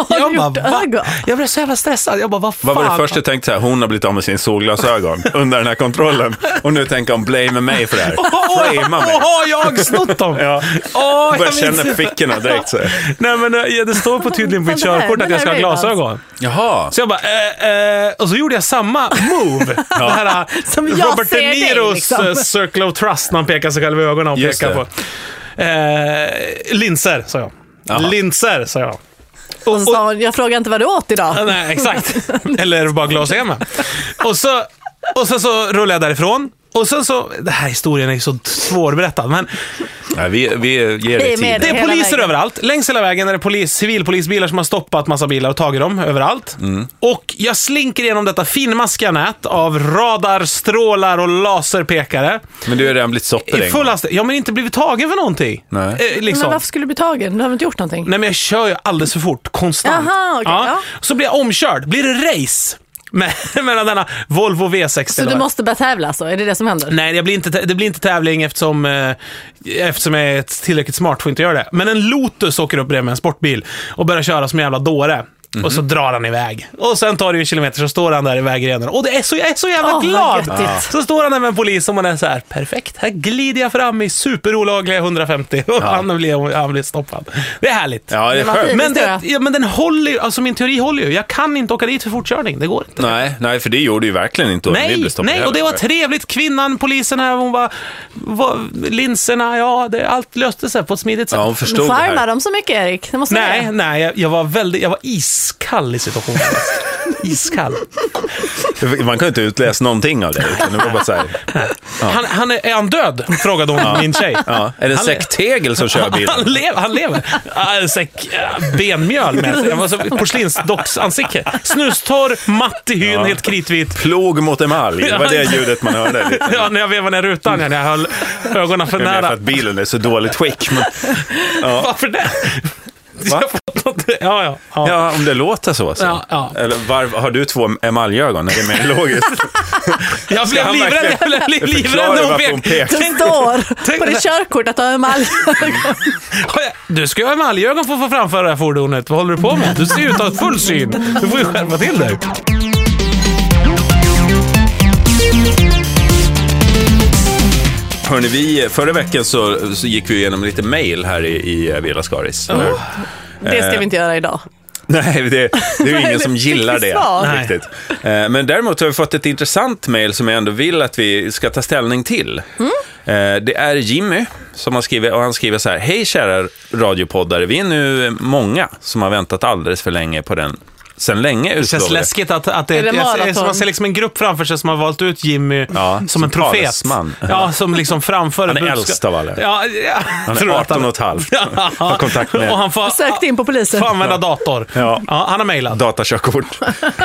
Jag
du
bara,
gjort
va?
ögon?
Jag blev så jävla stressad. Jag bara, vad fan?
Vad var det första du tänkte? Så här, hon har blivit av med sin solglasögon under den här kontrollen. Och nu tänker hon, blame mig för det här. Framea mig.
Åh, har jag snott dem?
Ja.
Åh, jag
Börjar
minns
känna
inte.
fickorna direkt. Så. här.
Nej men eh, det står på tydligen på mitt
Den här-
körkort att
den
jag ska
här
ha
är alltså-
glasögon.
Jaha.
Så jag bara, eh, eh, och så gjorde jag samma move. Det här eh,
Som jag
Robert
ser
De
dig,
Niros
liksom.
eh, Circle of Trust när han pekar sig själv i ögonen och
Just
pekar
det.
på. Eh, linser, sa jag.
Jaha.
Linser, sa jag.
Och så sa hon, jag frågar inte vad du åt idag.
Nej, exakt. Eller bara glasögon. Och så, och sen så rullade jag därifrån. Och sen så, den här historien är ju så svårberättad, men
Ja, vi, vi ger
Vi
dig
är med
Det
tid.
är
Hela
poliser
vägen.
överallt. Längs hela vägen är det polis, civilpolisbilar som har stoppat massa bilar och tagit dem överallt. Och jag slinker igenom detta finmaskiga nät av radarstrålar och laserpekare.
Men du har redan blivit stoppad
I
en
full
gång.
hastighet. Jag har inte blivit tagen för någonting.
Nej.
Eh, liksom.
Men varför skulle du bli tagen? Du har väl inte gjort någonting?
Nej, men jag kör ju alldeles för fort. Konstant.
Jaha, okej, ja.
Så blir jag omkörd. Blir det race med, mellan denna Volvo V60.
Så
eller
du
vad-
måste börja tävla alltså? Är det det som händer?
Nej, det blir inte, det blir inte tävling eftersom, eh, eftersom jag är ett tillräckligt smart för att inte göra det. Men en Lotus åker upp bredvid med en sportbil och börjar köra som en jävla dåre. Och så drar han iväg. Och sen tar det ju en kilometer så står han där i vägrenen. Och det är så, jag är så jävla
Åh, vad
glad!
göttigt.
Så står han där med en polis som man är så här: perfekt, här glider jag fram i superolagliga 150. Och han, blir, han blir stoppad. Det är härligt.
Ja, det är
Men vad
skönt.
fint.
Men, det,
Historia.
ja, men den håller ju, alltså min teori håller ju. Jag kan inte åka dit för fortkörning, det går inte.
Nej, nej, för det gjorde ju verkligen inte hon. Vi
Nej,
blev stoppade
nej, och det
heller.
var trevligt. Kvinnan, polisen här, hon var, var linserna, ja, det, allt löste sig på ett smidigt sätt.
Ja, hon förstod det
Charmar
här.
de så mycket Erik? Det måste
nej,
det.
nej, jag, jag var väldigt, jag var iskall i situationen. iskall.
Man kan ju inte utläsa någonting av det. Utan det var bara så här.
Han, han är, är han död? Frågade hon min tjej.
Ja. Är det
Han-
Säck Tegel som kör bilen?
Han lever, han lever. Ah, Säck ah, benmjöl med sig. Jag var så porslinsdocksansikte. Snustorr, matt i hyn, helt kritvit.
Plog mot emalj, det var det ljudet man hörde. Lite.
Ja, när jag vevade ner rutan, ja, när jag höll ögonen för
Det är mer för
nära.
att bilen är så dåligt skick. Men,
Varför det?
Va?
Ja, ja. ja.
ja, om det låter så. så.
Ja, ja.
Eller var, har du två emaljögon? Är det mer logiskt?
Jag blev
han
livrädd,
verkligen-
jag blev livrädd
Förklara
när
varför
hon
hon
pekade.
pekar.
Det står
tänk
på
det.
ditt körkort att du har emalj.
Har jag- Du ska ju ha emaljögon för att få framföra det här fordonet. Vad håller du på med? Du ser ju ut att ha full syn. Du får ju skärpa till dig.
Hörrni, vi, förra veckan så, så gick vi igenom lite mail här i, i Villa eh, Skaris. eller hur?
Det
Eh.
ska vi inte göra idag.
Nej, det, det är ju ingen som
Riktigt
gillar det.
svar.
Riktigt. Eh, Men däremot har vi fått ett intressant mejl som jag ändå vill att vi ska ta ställning till. Eh, Det är Jimmy som har skrivit, och han skriver så här. Hej kära radiopoddare, vi är nu många som har väntat alldeles för länge på den sen länge
Det känns
utlovade.
läskigt att, att det,
Är det
jag, jag,
maraton?
man ser liksom en grupp framför sig som har valt ut Jimmy
Ja,
som,
som
en profet.
talesman.
Ja, som liksom framför
Han är
ett budskap.
äldst av alla.
Ja, ja,
Han
tror
är
att
18 och ett halvt.
Ja.
Har kontakt med-
Och han får,
Sökte in på polisen.
får använda dator.
Ja.
han har mejlat.
Datakörkort.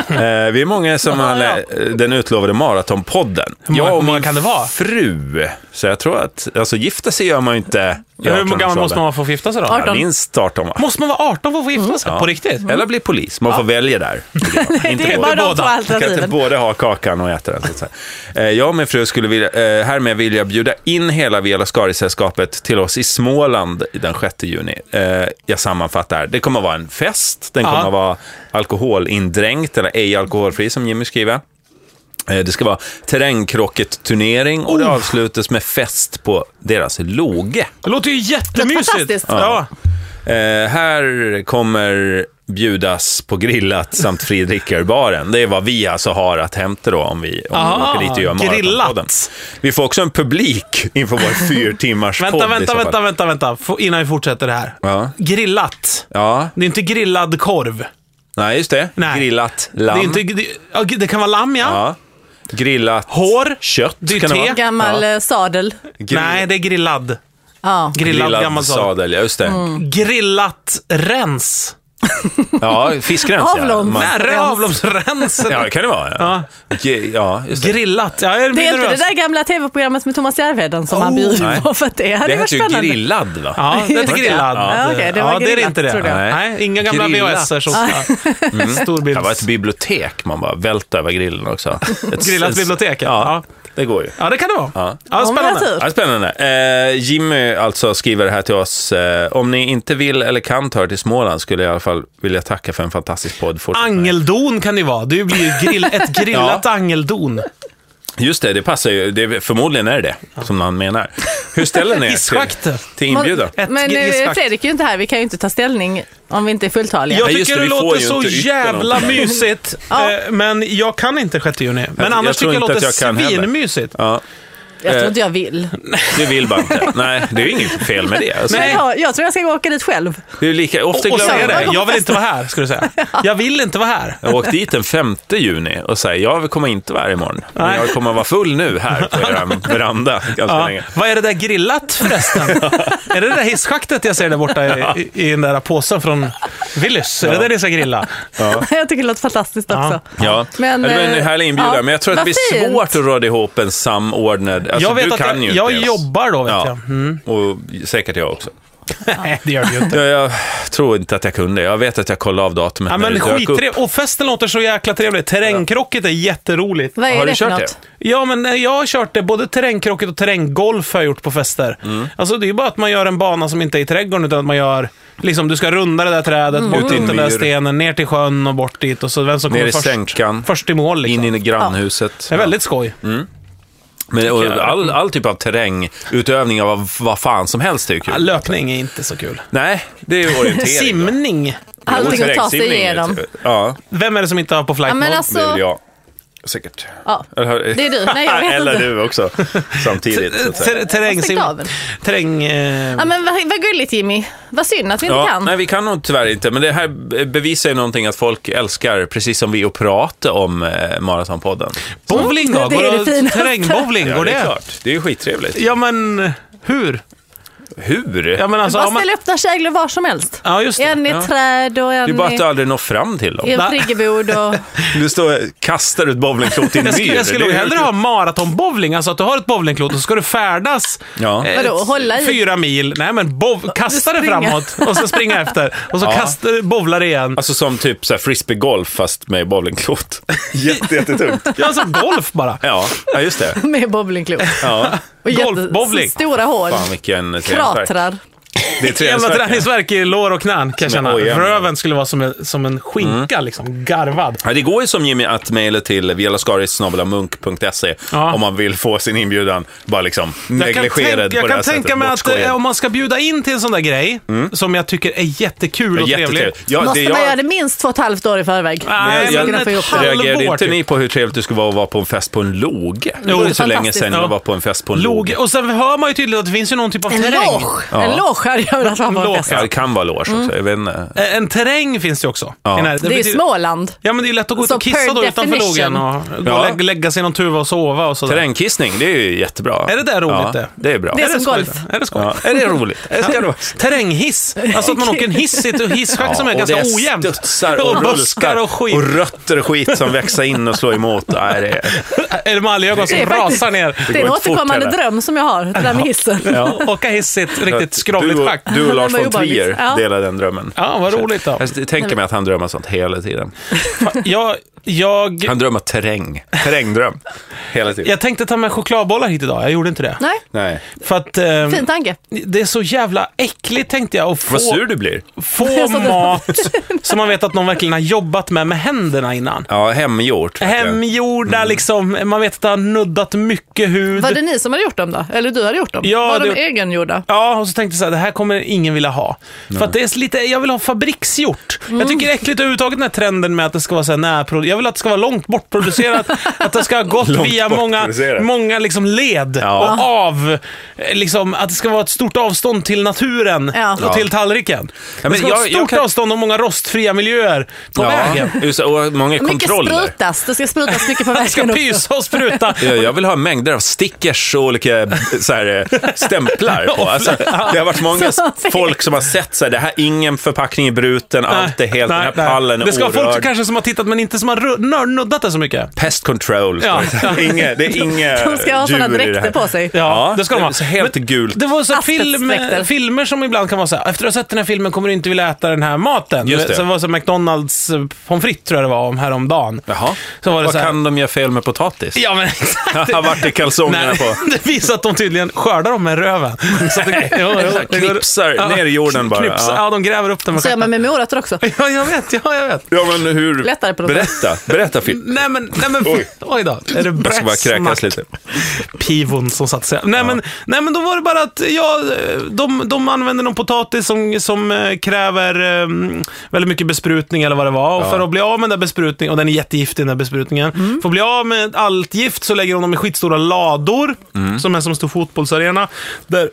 eh, vi är många som
Ja,
har
ja.
lä- den utlovade maratonpodden.
Hur många-
jag och
hur många
min
kan det vara?
fru. Så jag tror att, alltså gifta sig gör man ju inte i
Hur
18-årsåldern.
gammal måste man vara för att få gifta sig då?
18.
Minst 18 va?
Måste man vara 18 för att få gifta sig?
Mm. Ja.
På riktigt?
Eller bli polis. Man får välja där. Inte
det är bara
båda.
de
båda.
två
Man kan inte
alternativen.
både ha kakan och äta den. Så att säga. Eh, Jag och min fru skulle vilja, eh, härmed vilja bjuda in hela Viola Skari-sällskapet till oss i Småland den 6 juni. Eh, Jag sammanfattar. Det kommer vara en fest. Den kommer
Ja.
vara alkoholindränkt eller ej alkoholfri som Jimmy skriver. Eh, Det ska vara terrängkrocket-turnering och det avslutas med fest på deras loge.
Det låter ju jättemysigt.
Fantastiskt.
Ja.
Eh, här kommer bjudas på grillat samt fri drickarbaren. Det är vad vi alltså har att hämta då om vi, om vi
Aha,
åker dit och gör
grillat.
maratonpodden. Vi får också en publik inför vår fyra timmars
Vänta,
podd i
vänta,
så fall.
vänta, vänta, vänta. Få- Innan vi fortsätter det här.
Ja.
Grillat.
Ja,
Det är inte grillad korv.
nej just det.
Nej.
Grillat
Det,
lamm.
är inte, det, ja, det kan vara lamm, ja.
ja. Grillat
Hår.
kött.
Det är
kan
te.
vara.
Gammal eh, sadel.
Grill-
Nej, det är grillad.
Ja.
Grillad,
Grillad
gammal sadel. Mm.
sadel, ja just det.
Grillat rens. Äh,
Ja, fiskrens ja.
Avlång.
Man-
Nära
Rens.
avloppsrensen.
Ja, det kan det vara. Ja, Ge- ja just det.
Grillat. Ja, jag är
Det är inte det
nervös.
där gamla tv-programmet med Thomas Järvheden som han bjuder
Oh, nej.
på. För att det hade
Det
varit
heter ju
spännande.
grillad va?
Ja, det är inte
Just det.
grillad.
Ja. Ja, okej, det var
ja, det är
grillat,
inte det.
trodde
jag.
Nej. Nej, inga gamla
Grillat.
VHS-er som ska... Mm. Storbilds...
Det var ett bibliotek man bara välter över grillen också. Ett
Grillat bibliotek, ja.
ja. Det går ju.
Ja, det kan det vara. Ja,
Om jag har
spännande.
tur.
Ja, spännande. Eh, Jimmy alltså skriver här till oss. Eh, om ni inte vill eller kan ta er till Småland skulle jag i alla fall vilja tacka för en fantastisk podd. Fortsätt med det.
Angeldon kan det ju vara. Det blir ju grill, ett grillat angeldon.
Just det, det passar ju. Det, är- förmodligen är det det som han menar. Hur ställer ni er till,
Isschakter.
till inbjudan?
Ett
Men eh,
grisfakt.
Fredrik är ju inte här, vi kan ju inte ta ställning om vi inte är fulltaliga.
Jag
Nej, just
tycker
det,
det,
vi får
låter
ju
så
inte yttra
jävla mysigt,
Ja.
eh, men jag kan inte 6 juni. Men
Jag- jag
annars
tror
tycker jag
inte
låter
att jag kan heller.
svinmysigt.
Ja,
Jag
eh,
tror inte jag vill.
du vill bara inte. Nej, det är ju inget fel med det. Alltså,
Men
Nej.
jag, jag tror jag ska gå och åka dit själv.
det är lika, ofta
Och
glömmer
säga
jag
det,
det.
jag vill inte vara här, ska du säga. Jag vill inte vara här.
Jag har åkt dit den 5 juni och säger jag kommer inte vara här imorgon. Men
Nej.
jag kommer vara full nu här på er veranda ganska
Ja.
länge.
Vad är det där grillat förresten? är det det där hisschaktet jag ser där borta i, i, i den där påsen från Willys? Är det där ni ska grilla?
jag tycker det låter fantastiskt också.
Ja,
Men,
men, det var en
eh,
härlig inbjudan,
ja,
men jag tror att
vad
det blir
fint.
svårt att råda ihop en samordnad... Alltså,
jag vet
du
att
kan
jag,
ju inte
jag
ens.
jobbar då, vet
Ja,
jag. Mm.
och säkert jag också.
Nej, det gör du ju inte.
Jag, jag tror inte att jag kunde. Jag vet att jag kollade av datumet
Ja,
när
men
det dök upp.
skittrevligt. Och festen låter så jäkla trevlig. Terrängkrocket är jätteroligt.
Vad är
Har
det
du
för
kört
något?
Ja, men eh, jag har kört det. Både terrängkrocket och terränggolf har jag gjort på fester.
Mm.
Alltså, det är ju bara att man gör en bana som inte är i trädgården, utan att man gör... Liksom, du ska runda det där trädet, bort
Mm. Ut i
ut
en
den där
myr.
stenen, ner till sjön och bort dit. Och så vem som
Ner
kommer
i
först,
sänkan,
först i mål. Liksom.
in i Mm. grannhuset.
Det är väldigt skoj.
Men, och all, all typ av terrängutövning av vad, vad fan som helst är ju kul.
Ja, Löpning är inte så kul.
Nej, det är ju orientering. då.
Simning.
Allting att ta sig
Terrängsimning är
igenom.
kul. Ja,
Vem är det som inte har på flight
Ja, men
mode?
alltså-
det är väl jag. Säkert.
Ja.
Eller- eh,
Det är du. Nej, jag vet
Eller
inte.
du också, samtidigt. så att säga.
Ter- terrängsim...
Jag har stängt av
Terräng... Eh...
Ja, men vad, vad gulligt Jimmy. Vad synd att vi inte
Ja,
kan.
Nej, vi kan nog tyvärr inte. Men det här bevisar ju någonting att folk älskar, precis som vi, att prata om eh, Maratonpodden.
Bowling då?
Alltså, Det
Går
är det
det-
finaste.
Terrängbowling, går
det är
det?
klart. Det är ju skittrevligt.
Ja, men hur?
Hur?
Ja, men alltså,
Bara
om man...
ställa upp där käglor var som helst.
Ja, just det.
En i träd och en
Det är bara att du
i,
aldrig når fram till dem.
i
Nej.
en friggebod. Och...
Du står och kastar ut bowlingklot i en
Jag skulle,
myr.
jag skulle
Det
nog
är
hellre
ju-
ha maratonbowling, alltså att du har ett bowlingklot och så ska du färdas
Ja.
eh,
Vadå, hålla i?
fyra mil. Nej, men bov, kasta det
springer.
framåt och så springa efter. Och så
Ja.
kasta, bowlar igen.
Alltså som typ så här frisbeegolf fast med bowlingklot. Jätte, jättetungt.
Ja, alltså golf bara.
Ja, ja, just det.
Med bowlingklot.
Ja.
Och
Golfbowling.
jätte- Stora hål.
Fan vilken
Kratrar.
Det är
Jävla
träningsvärk.
träningsvärk i lår och knän kan jag
Som
känna.
är E ojan.
Röven skulle vara som en, som en skinka,
Mm.
liksom. Garvad.
Ja, det går ju som Jimmy att mejla till vialaskaris.munk.se
Ja.
om man vill få sin inbjudan bara liksom negligerad
tänk- jag
på det här
kan
sättet.
tänka mig att
bortskojad.
eh, om man ska bjuda in till en sån där grej, som jag tycker är jättekul och trevlig.
Jättetrevligt. Ja,
Måste
det-
man
jag-
göra det minst två och ett halvt år i förväg?
Nej,
För att
men
jag
kunna få ihop det.
halvår
reagerade inte
typ.
ni på hur trevligt det skulle vara att vara på en fest på en loge? det var ju så länge
fantastiskt.
sedan
Ja.
jag var på en fest på en
Log.
loge.
Och sen hör man ju tydligt att det finns ju någon typ av
En
terräng.
loge. En loge hade jag velat ha på
Loge.
en fest.
Ja, det kan vara loge också. Jag vet inte.
Eh, En terräng finns det ju också.
Ja.
I närheten.
Det är ju
betyder-
Småland.
Ja, men det är ju lätt att gå ut
Så
och kissa
per
då utanför
definition.
logen och gå
Ja.
och lägga, lägga sig i någon tuva och sova och sådär.
Terrängkissning, det är ju jättebra.
Är det där roligt
ja,
det?
Det är bra.
Det är som
skoj
golf.
då? Är det skoj?
Ja, är det roligt? Det ska det vara.
Terränghiss. Alltså att man åker en hiss i ett hisschakt som är
och
ganska
det
ojämnt.
studsar och,
och buskar
rullar
och skit.
Och rötter och skit som växer in och slår emot. Nej, det är...
Eller maljögon som
Det är faktiskt-
rasar ner.
Det är en
går inte fort
återkommande
heller.
dröm som jag har, det där med hissen.
Åka hiss i ett riktigt skrovligt
du, och-
schakt.
du och Lars
Men vad
von Trier
obehagligt. Ja.
delar den drömmen.
Ja, vad roligt då.
Jag tänker mig att han drömmer sånt hela tiden.
Jag, jag,
Han drömmer terräng. Terrängdröm. Hela tiden.
jag tänkte ta med chokladbollar hit idag. Jag gjorde inte det.
Nej,
Nej.
För att eh,
Mm.
fin tanke.
det är så jävla äckligt tänkte jag att få,
Vad sur du blir.
få mat som man vet att någon verkligen har jobbat med med händerna innan.
Ja, hemgjort. verkligen.
Hemgjorda
Mm.
liksom, man vet att det har nuddat mycket hud.
Var det ni som hade gjort dem då? Eller du hade gjort dem?
Ja,
var de
det-
egengjorda?
Ja, och så tänkte jag så här, det här kommer ingen vilja ha. För att det är så lite, jag vill ha fabriksgjort.
Mm.
Jag tycker det är äckligt överhuvudtaget den här trenden med att det ska vara så här närprodu- Jag vill att det ska vara långt bortproducerat, att det ska ha gått
Långt
via många,
bortproducerat.
många liksom led
Ja.
och av. eh, Liksom, att det ska vara ett stort avstånd till naturen
Ja.
och till tallriken.
men
det ska vara
jag-
ett
jag
stort
kan-
avstånd och många rostfria miljöer på vägen.
Ja, just det, och många
Mycket
kontroller.
sprutas, det ska sprutas mycket på vägen
Det ska
också.
pysa och spruta.
Ja, Jag vill ha mängder av stickers och olika så här, eh, stämplar på. Alltså, det har varit många
Så fel.
folk som har sett så här, det här, ingen förpackning är bruten, allt är helt, den här pallen är
Det ska vara folk
orörd.
som kanske som har tittat men inte som har ru- nör- nuddat det så mycket.
Pest control.
Ja.
står det. Inge, det är inga
De ska ha sådana
djur i det
dräkter
här.
på sig.
Ja, det ska de ha.
så Helt gult.
Det var så här film,
Asbestdräkter.
filmer som ibland kan vara så här, efter att ha sett den här filmen kommer du inte vilja äta den här maten.
Just det.
Så det var så här McDonalds eh, pommes frites tror jag det var om häromdagen.
Jaha.
Så var det
Vad
så här,
kan de göra fel med potatis?
Ja men exakt.
Har varit i kalsongerna
Nej,
på.
det visar att de tydligen skördar dem med röven. Så att det, jo, jo,
Exakt,
det går-
knipsar ner i jorden bara.
Knipsar,
Ja.
ja, de gräver upp den med
Så gör man
stjärten.
med morötter också.
Ja, jag vet, ja, jag vet.
Ja, men hur...
Lättare på något
Berätta, berätta Filip.
Nej men, nej men, oj,
Oj.
då. Är det
Jag ska bara kräkas
bräsmack?
lite.
pivon som satt sig. Nej, men, nej men då var det bara att ja, de, de använder någon potatis som, som eh, kräver eh, väldigt mycket besprutning eller vad det var. Och för att bli av med den där besprutningen, och den är jättegiftig den där besprutningen.
Mm.
För att bli av med allt gift så lägger de dem i skitstora lador,
Mm.
som är som en stor fotbollsarena. Där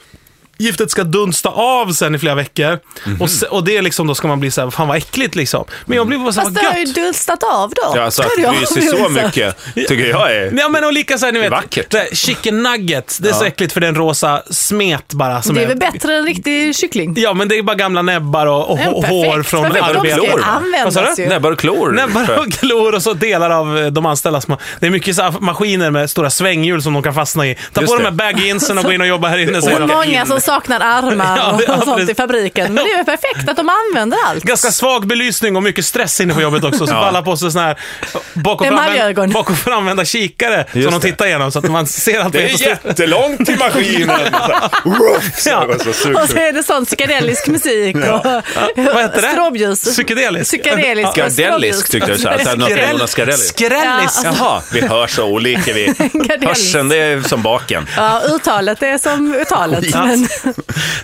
Giftet ska dunsta av sen i flera veckor.
Mhm.
Och, se, och det liksom, då ska man bli såhär, fan vad äckligt liksom. Men jag blev bara såhär,
Fast det
vad
har ju
gött.
dulstat av då.
Ja, alltså, att
Det har
det ryser så
dulsat.
mycket tycker jag är...
Ja men och lika såhär, ni vet,
vackert.
det här chicken nuggets, det är så äckligt för det är en rosa smet bara. Som
Det är väl bättre än riktig kyckling?
Ja, men det är bara gamla näbbar och, och
Ja,
hår
perfekt.
från
Perfekt.
Näbbar och
arbetet.
De ska ju
klor.
Vad sa
användas
du?
ju.
Näbbar och klor.
Näbbar
För-
och klor och så delar av eh, de anställda. Som, det är mycket så här maskiner med stora svänghjul som de kan fastna i. Ta
Just
på de
det.
här bag-insen och gå in och jobba här inne. säger
Så
de.
många som saknar
Ja,
armar och
ja,
sånt
precis.
i fabriken. Men det är väl perfekt att de använder allt.
Ganska svag belysning och mycket stress inne på jobbet också. Så
Ja.
alla på sig såna här bak och,
Det är
framvänd,
maljögon.
bak och framvända kikare
Just
som de
det.
tittar igenom så att man ser allt.
Det är jättelångt till maskinen. Så
Ja.
jag var så
Och
sjuk.
så är det sån psykedelisk musik och
Vad heter det?
stråbljus.
Psykedelisk.
Psykedelisk. och
Gardellisk tyckte jag. Så här, så här, alltså, något med Jonas Gardellisk.
Skrällis.
Ja.
Jaha, vi hör så olika. Vi.
Gardellisk.
Hörseln, det är som baken.
Ja, uttalet är som uttalet.
Ja.
Men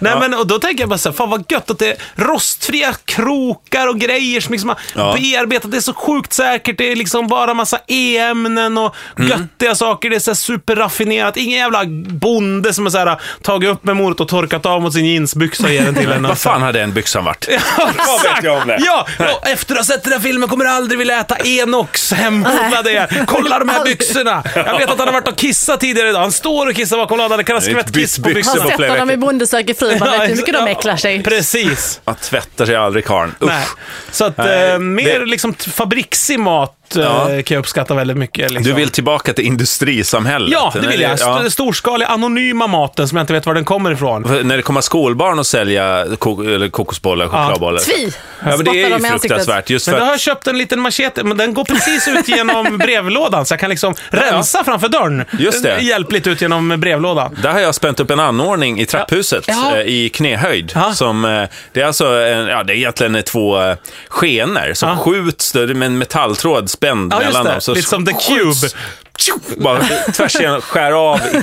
Nej men och då tänker jag bara så här, fan vad gött att det är rostfria krokar och grejer som liksom har
Ja.
bearbetat. Det är så sjukt säkert. Det är liksom bara massa e-ämnen och
Mm.
göttiga saker. Det är så här superraffinerat. Ingen jävla bonde som har så här, tagit upp med morot och torkat av mot sin jeansbyxa och ger den till en. alltså.
Vad fan hade den byxan varit? Vad vet
Exakt!
jag om det?
Ja, och efter att ha sett den här filmen kommer jag aldrig vilja äta Enoks hemodlade er. Kolla de här
Aldrig.
byxorna! Jag vet att han har varit och kissat tidigare idag. Han står och kissar bakom ladan. Det kan ha
Det är inte
skvätt kiss på
bytt byxor
byxorna.
på
har sett
flera
honom i
veckor.
Bonde söker fru. Man vet hur mycket
Ja,
de äcklar sig.
Precis.
Man tvättar sig aldrig karln.
Nej.
Usch.
Så att
Nej,
eh, mer
det-
liksom t- fabriksig mat nytt eh,
Ja.
kan jag uppskatta väldigt mycket. Liksom.
Du vill tillbaka till industrisamhället?
Ja, det vill jag. Alltså,
När-
St- Storskaliga, anonyma maten som jag inte vet var den kommer ifrån.
För När det kommer skolbarn och sälja ko- eller kokosbollar, chokladbollar.
Tvi!
Ja, men
Spottar
det är ju
dem i ansiktet.
fruktansvärt. Just
Men
för
då har jag
att,
köpt en liten machete, men den går precis ut genom brevlådan, så jag kan liksom rensa framför dörren.
Just det.
Hjälpligt ut genom brevlådan.
där har jag spänt upp en anordning i trapphuset
Ja.
eh, i knähöjd.
Ja.
Som, eh, det är alltså en, ja, det är egentligen två eh, skenor som
Ja.
skjuts då, det är med en metalltråd spänd
Ja, just
mellan
det.
dem. Så
Lite som The
skjuts-
Cube.
tjo, Bara tvärs igenom, skär av i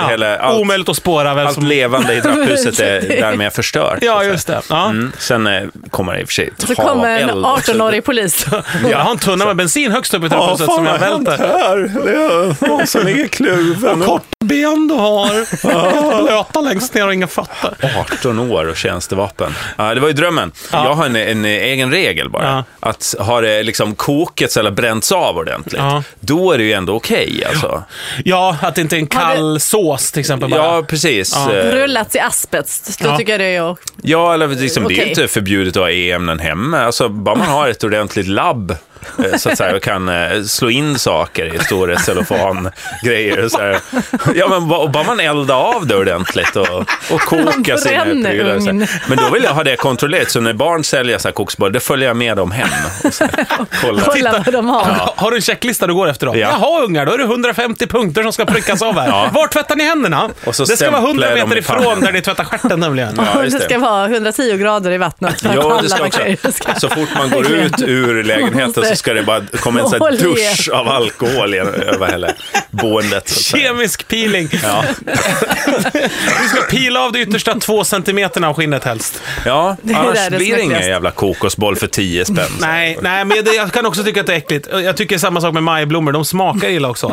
Ja.
hela allt,
Omöjligt att spåra vem
allt
som...
levande i trapphuset är därmed förstört. så
Ja,
att
just
säga.
det. Ja.
Mm. Sen eh, kommer det i och för sig ett
Så
hav
kommer en
eld också.
18-årig polis.
Jag har en tunna med bensin högst upp i trapphuset som jag välter.
här? Det är någon som ligger i kluven.
Kort ben du har. Blöta längst ner och inga fötter.
18 år och tjänstevapen. Ja, det var ju drömmen. Jag har en, en egen regel bara.
Ja.
Att har det liksom kokets eller bränts av ordentligt,
Ja.
då är det ju ändå okej alltså.
Ja, att det inte är en
Har du-
kall sås till exempel bara.
Ja, precis.
Ja.
Eh,
Rullats i asbest. Då
Ja.
tycker jag det är...
Ja, eller liksom, det är ju
Okej.
inte förbjudet att ha e-ämnen hemma. Alltså, bara man har ett ordentligt labb eh, så att säga, och kan eh, slå in saker i stora cellofangrejer. och Så här. ja, men ba- och bara man eldar av det ordentligt och, och kokar sina
Bränner
prylar. och så
ugn.
här. Men då vill jag ha det kontrollerat, så när barn säljer så här kokosbollar, då följer jag med dem hem. Och så här, kollar.
Kolla vad de har.
Ha- Har du en checklista du går efter då?
Ja.
Jaha ungar, då är det 150 punkter som ska prickas av här.
Ja.
Var tvättar ni händerna?
Och så
det ska vara 100
stämplar jag
meter
dem i
ifrån
pannan.
där ni tvättar stjärten nämligen.
Ja,
det.
just det.
ska vara 110 grader i vattnet. för att
Ja, det
alla
ska också.
bakterier ska-
Så fort man går ut ur lägenheten så ska det bara komma en sån här
Håll i er.
dusch av alkohol igen över hela boendet. så att säga.
Kemisk peeling.
Ja.
Du ska pila av de yttersta två centimeterna av skinnet helst.
Ja,
är
annars
där det
blir det
smäckligaste.
ingen jävla kokosboll för 10 spänn.
Nej, nej men det, jag kan också tycka att det är äckligt. Jag tycker samma sak med majblommor. De smakar illa också.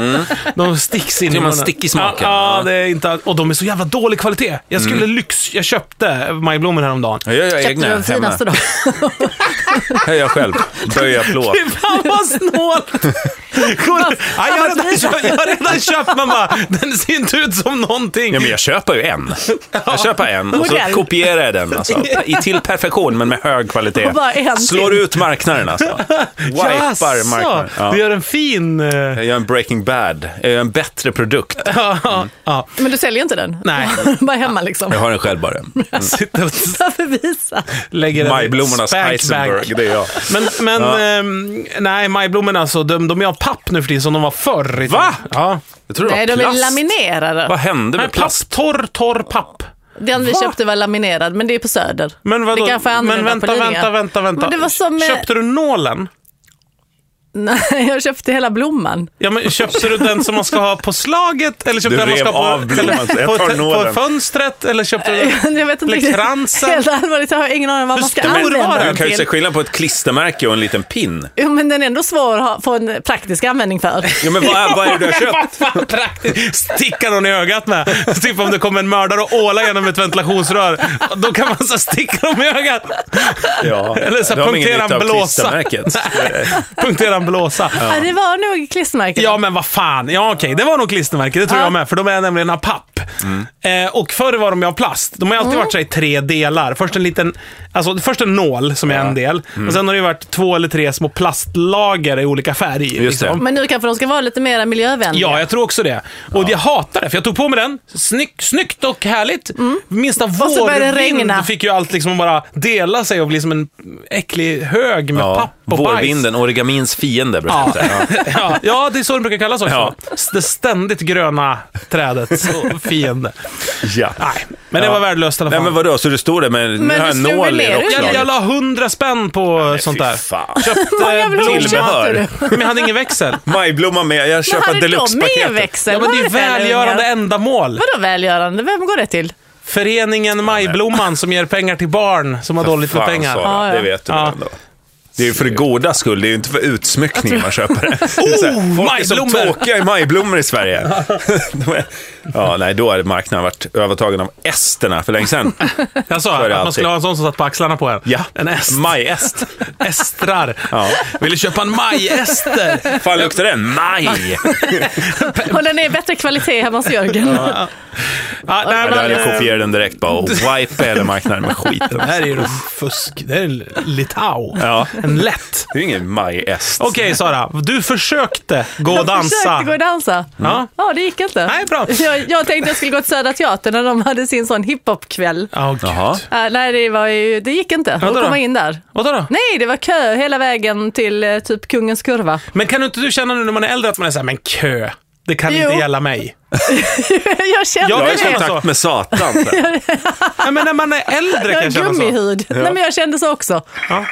De sticks in
Tycker Mm. man
munnen.
stick i smaken.
Ja, ja,
Ja. Mm.
det är inte, all- och de är så jävla dålig kvalitet. Jag skulle lyx... Jag köpte majblommor häromdagen.
Jag gör jag
Köpte
egna
du de
hemma.
finaste då?
Jag gör själv. Böja plåt.
Fy fan vad snålt! Cool. Ja, jag, har redan köpt, jag har redan köpt mamma. Den ser inte ut som någonting.
Ja, men jag köper ju en. Jag köper en och så
Modell.
kopierar jag den. Alltså. I till perfektion, men med hög kvalitet.
Och bara en till.
Slår ut marknaden alltså.
Jaså,
Wipar marknaden. Ja. Mm.
Du gör en fin... eh,
Jag gör en Breaking Bad. Jag gör en bättre produkt.
Men du säljer ju inte den?
Nej.
Bara hemma liksom.
Jag har den själv bara.
Sitter och
Varför visa?
lägger den i
Majblommornas
spankbag.
Heisenberg, det är jag.
Men, men ehm, nej, majblommorna alltså, de, de är av papp nu för tiden som de var förr. i tiden.
Va?
Ja.
Jag tror det
Nej,
var
de är
plast.
laminerade.
Vad hände
Nej,
med plast?
plast, torr, torr papp.
Den vi köpte var laminerad, men det är på Söder.
Men vadå?
Det kanske är
men
annorlunda på
vänta,
Lidingö.
vänta, vänta, vänta.
Men det var som... eh,
Köpte du nålen?
Nej, jag köpte hela blomman.
Ja, men köpte du den som man ska ha på slaget? Eller köpte
Du
den man ska
rev
ha
av
på,
blomman.
eller
Jag
på,
tar
te- på
nålen.
fönstret? Eller köpte
Eh,
du
Jag vet inte
Eller
riktigt.
kransen?
Helt allvarligt, jag har ingen aning om vad
Hur
man ska
stor var
använda
den?
Du
den
kan ju se
till.
skillnad på ett klistermärke och en liten pin.
Jo, men den är ändå svår att ha- få en praktisk användning för.
Ja, men vad, är- vad är det du har köpt?
Vad fan praktiskt. Sticka någon i ögat med. Typ om det kommer en mördare och ålar genom ett ventilationsrör. Då kan man så här sticka dem i ögat.
Ja.
Eller så
Då har man ingen
punktera
nytta
en
av
blåsa.
klistermärket.
Punktera en blåsa. Ja.
Ja, det var nog klistermärken.
men vad fan. Ja okej, det var nog klistermärke. Det tror
Ja. Mm.
jag med. För de är nämligen av papp. Eh, och förr var de ju av plast. De har ju alltid varit så här i tre delar. Först en liten, alltså först en nål som är en del.
Mm.
Och sen har det ju varit två eller tre små plastlager i olika färg. liksom.
Just det.
Men nu kanske de ska vara lite mer miljövänliga.
Ja, jag tror också det. Och jag hatar det, för jag tog på mig den. Snygg, snyggt och härligt. Minsta
Mm. Och så började det regna.
vårvind fick ju allt liksom bara dela sig och bli som en äcklig hög med
Ja,
papp och bajs.
vårvinden, origamins fiende brukar
Ja.
jag säga. Ja.
Ja, ja, det är så det brukar kallas också.
Ja.
Det ständigt gröna trädets fiende. Nej, men det
Ja.
var värdelöst i alla
Nej
fall.
men vadå, så du står där med
Men
nu har
du
jag en
slog väl
nål i
ner
jag, jag
rockslaget?
la hundra spänn på sånt där.
Fy fan.
Köpte
blommor köpte
blommor.
Tillbehör.
du?
Men jag hade ingen växel.
Majblomma med, jag
Men
köper
hade de med
deluxe-paketet.
växel?
Ja, men det är ju
Var väl
välgörande
ungar?
ändamål.
Vadå välgörande? Vem går det till?
Föreningen Majblomman som ger pengar till barn som har dåligt med
Fan,
pengar.
Sara,
Ja, ja.
Det vet du
Ja.
väl ändå. Det är ju för det goda skull, det är ju inte för utsmyckning man köper det. det. är så
Oh,
här, folk är som
majblommor!
tråkiga i majblommor i Sverige. De är- ja, nej, då hade marknaden varit övertagen av esterna för länge sedan.
Jag sa
Så är
att
det
man
alltid.
skulle ha en sån som satt på axlarna på en.
Ja,
En est.
majest.
Estrar.
Ja.
Vill du köpa en majester?
Fan luktar den? Maj!
Och den är bättre kvalitet hemma hos Jörgen.
Ja, nej,
Ja, Där hade jag
men,
kopierat den "Oh, direkt bara och wipe hela marknaden med skiten.
det här är ju fusk. Det är Litau.
Ja.
En Lätt.
Det är ju ingen majest.
Okej Sara, du försökte gå och
Jag
dansa.
försökte gå och dansa.
Ja.
Ja, det gick inte.
Nej, bra.
Jag, jag tänkte jag skulle gå till Södra Teatern när de hade sin sån hiphopkväll.
Ja, gud.
Jaha.
Äh, nej, det, var ju, det gick inte att
Vadå då?
komma in där.
Vadå då?
Nej, det var kö hela vägen till eh, typ Kungens Kurva.
Men kan du inte du känna nu när man är äldre att man är såhär, men kö, det kan
Jo.
inte gälla mig.
jag kände
Jag
Jag
är
är i
så-
det.
Alltså.
kontakt med Satan. där.
Nej, men när man är äldre
Jag
kan jag
har
känna så.
gummihud. Nej, men jag kände så också.
Ja.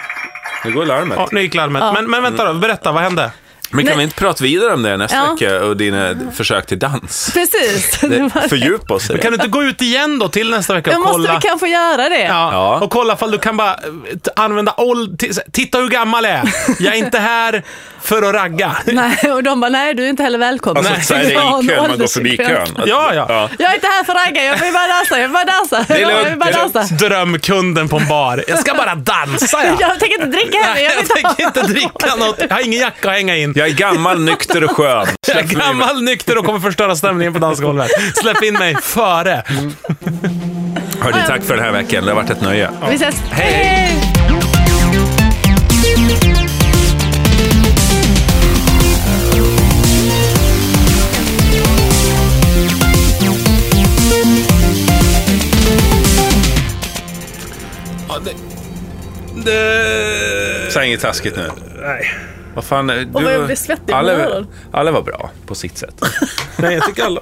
Nu går larmet.
Ja, nu gick larmet. Men, men vänta då, berätta, vad hände?
Men kan
Nej.
vi inte prata vidare om det nästa
Ja.
vecka och dina försök till dans?
Precis. Det
Det-
var-
Fördjupa oss
Kan
i det.
du inte gå ut igen då till nästa vecka
Jag
och
måste
kolla?
väl kanske göra det.
Ja,
Ja.
och kolla ifall du kan bara eh, t- använda old... t- Titta hur gammal jag är. Jag är inte här för att ragga.
Nej, och de bara, nej du är inte heller välkommen.
Alltså, så här, det
Jag har
är
en
i kön, man går
åldersgräns.
förbi kön.
Ja, ja.
Jag är inte här för att ragga, jag vill bara dansa, jag vill bara dansa.
är
jag vill
lugnt,
bara
det är lugnt.
dansa.
Drömkunden på en bar. Jag ska bara dansa jag.
Jag tänker inte dricka heller,
Nej,
jag vill
jag
inte
tänker
ha
inte dricka något. Jag har ingen jacka att hänga in.
Jag är gammal, nykter och skön.
Jag är
Släpp mig med.
gammal, nykter och kommer förstöra stämningen på dansgolvet. Släpp in mig före.
Hörni, tack för den här veckan. Det har varit ett nöje.
Vi ses.
Hej.
Eh,
Säg inget taskigt nu.
Nej.
Vad fan, eh, du,
vad jag blir svettig på
alla,
öronen.
alla var bra på sitt sätt.
Nej, jag tycker alla...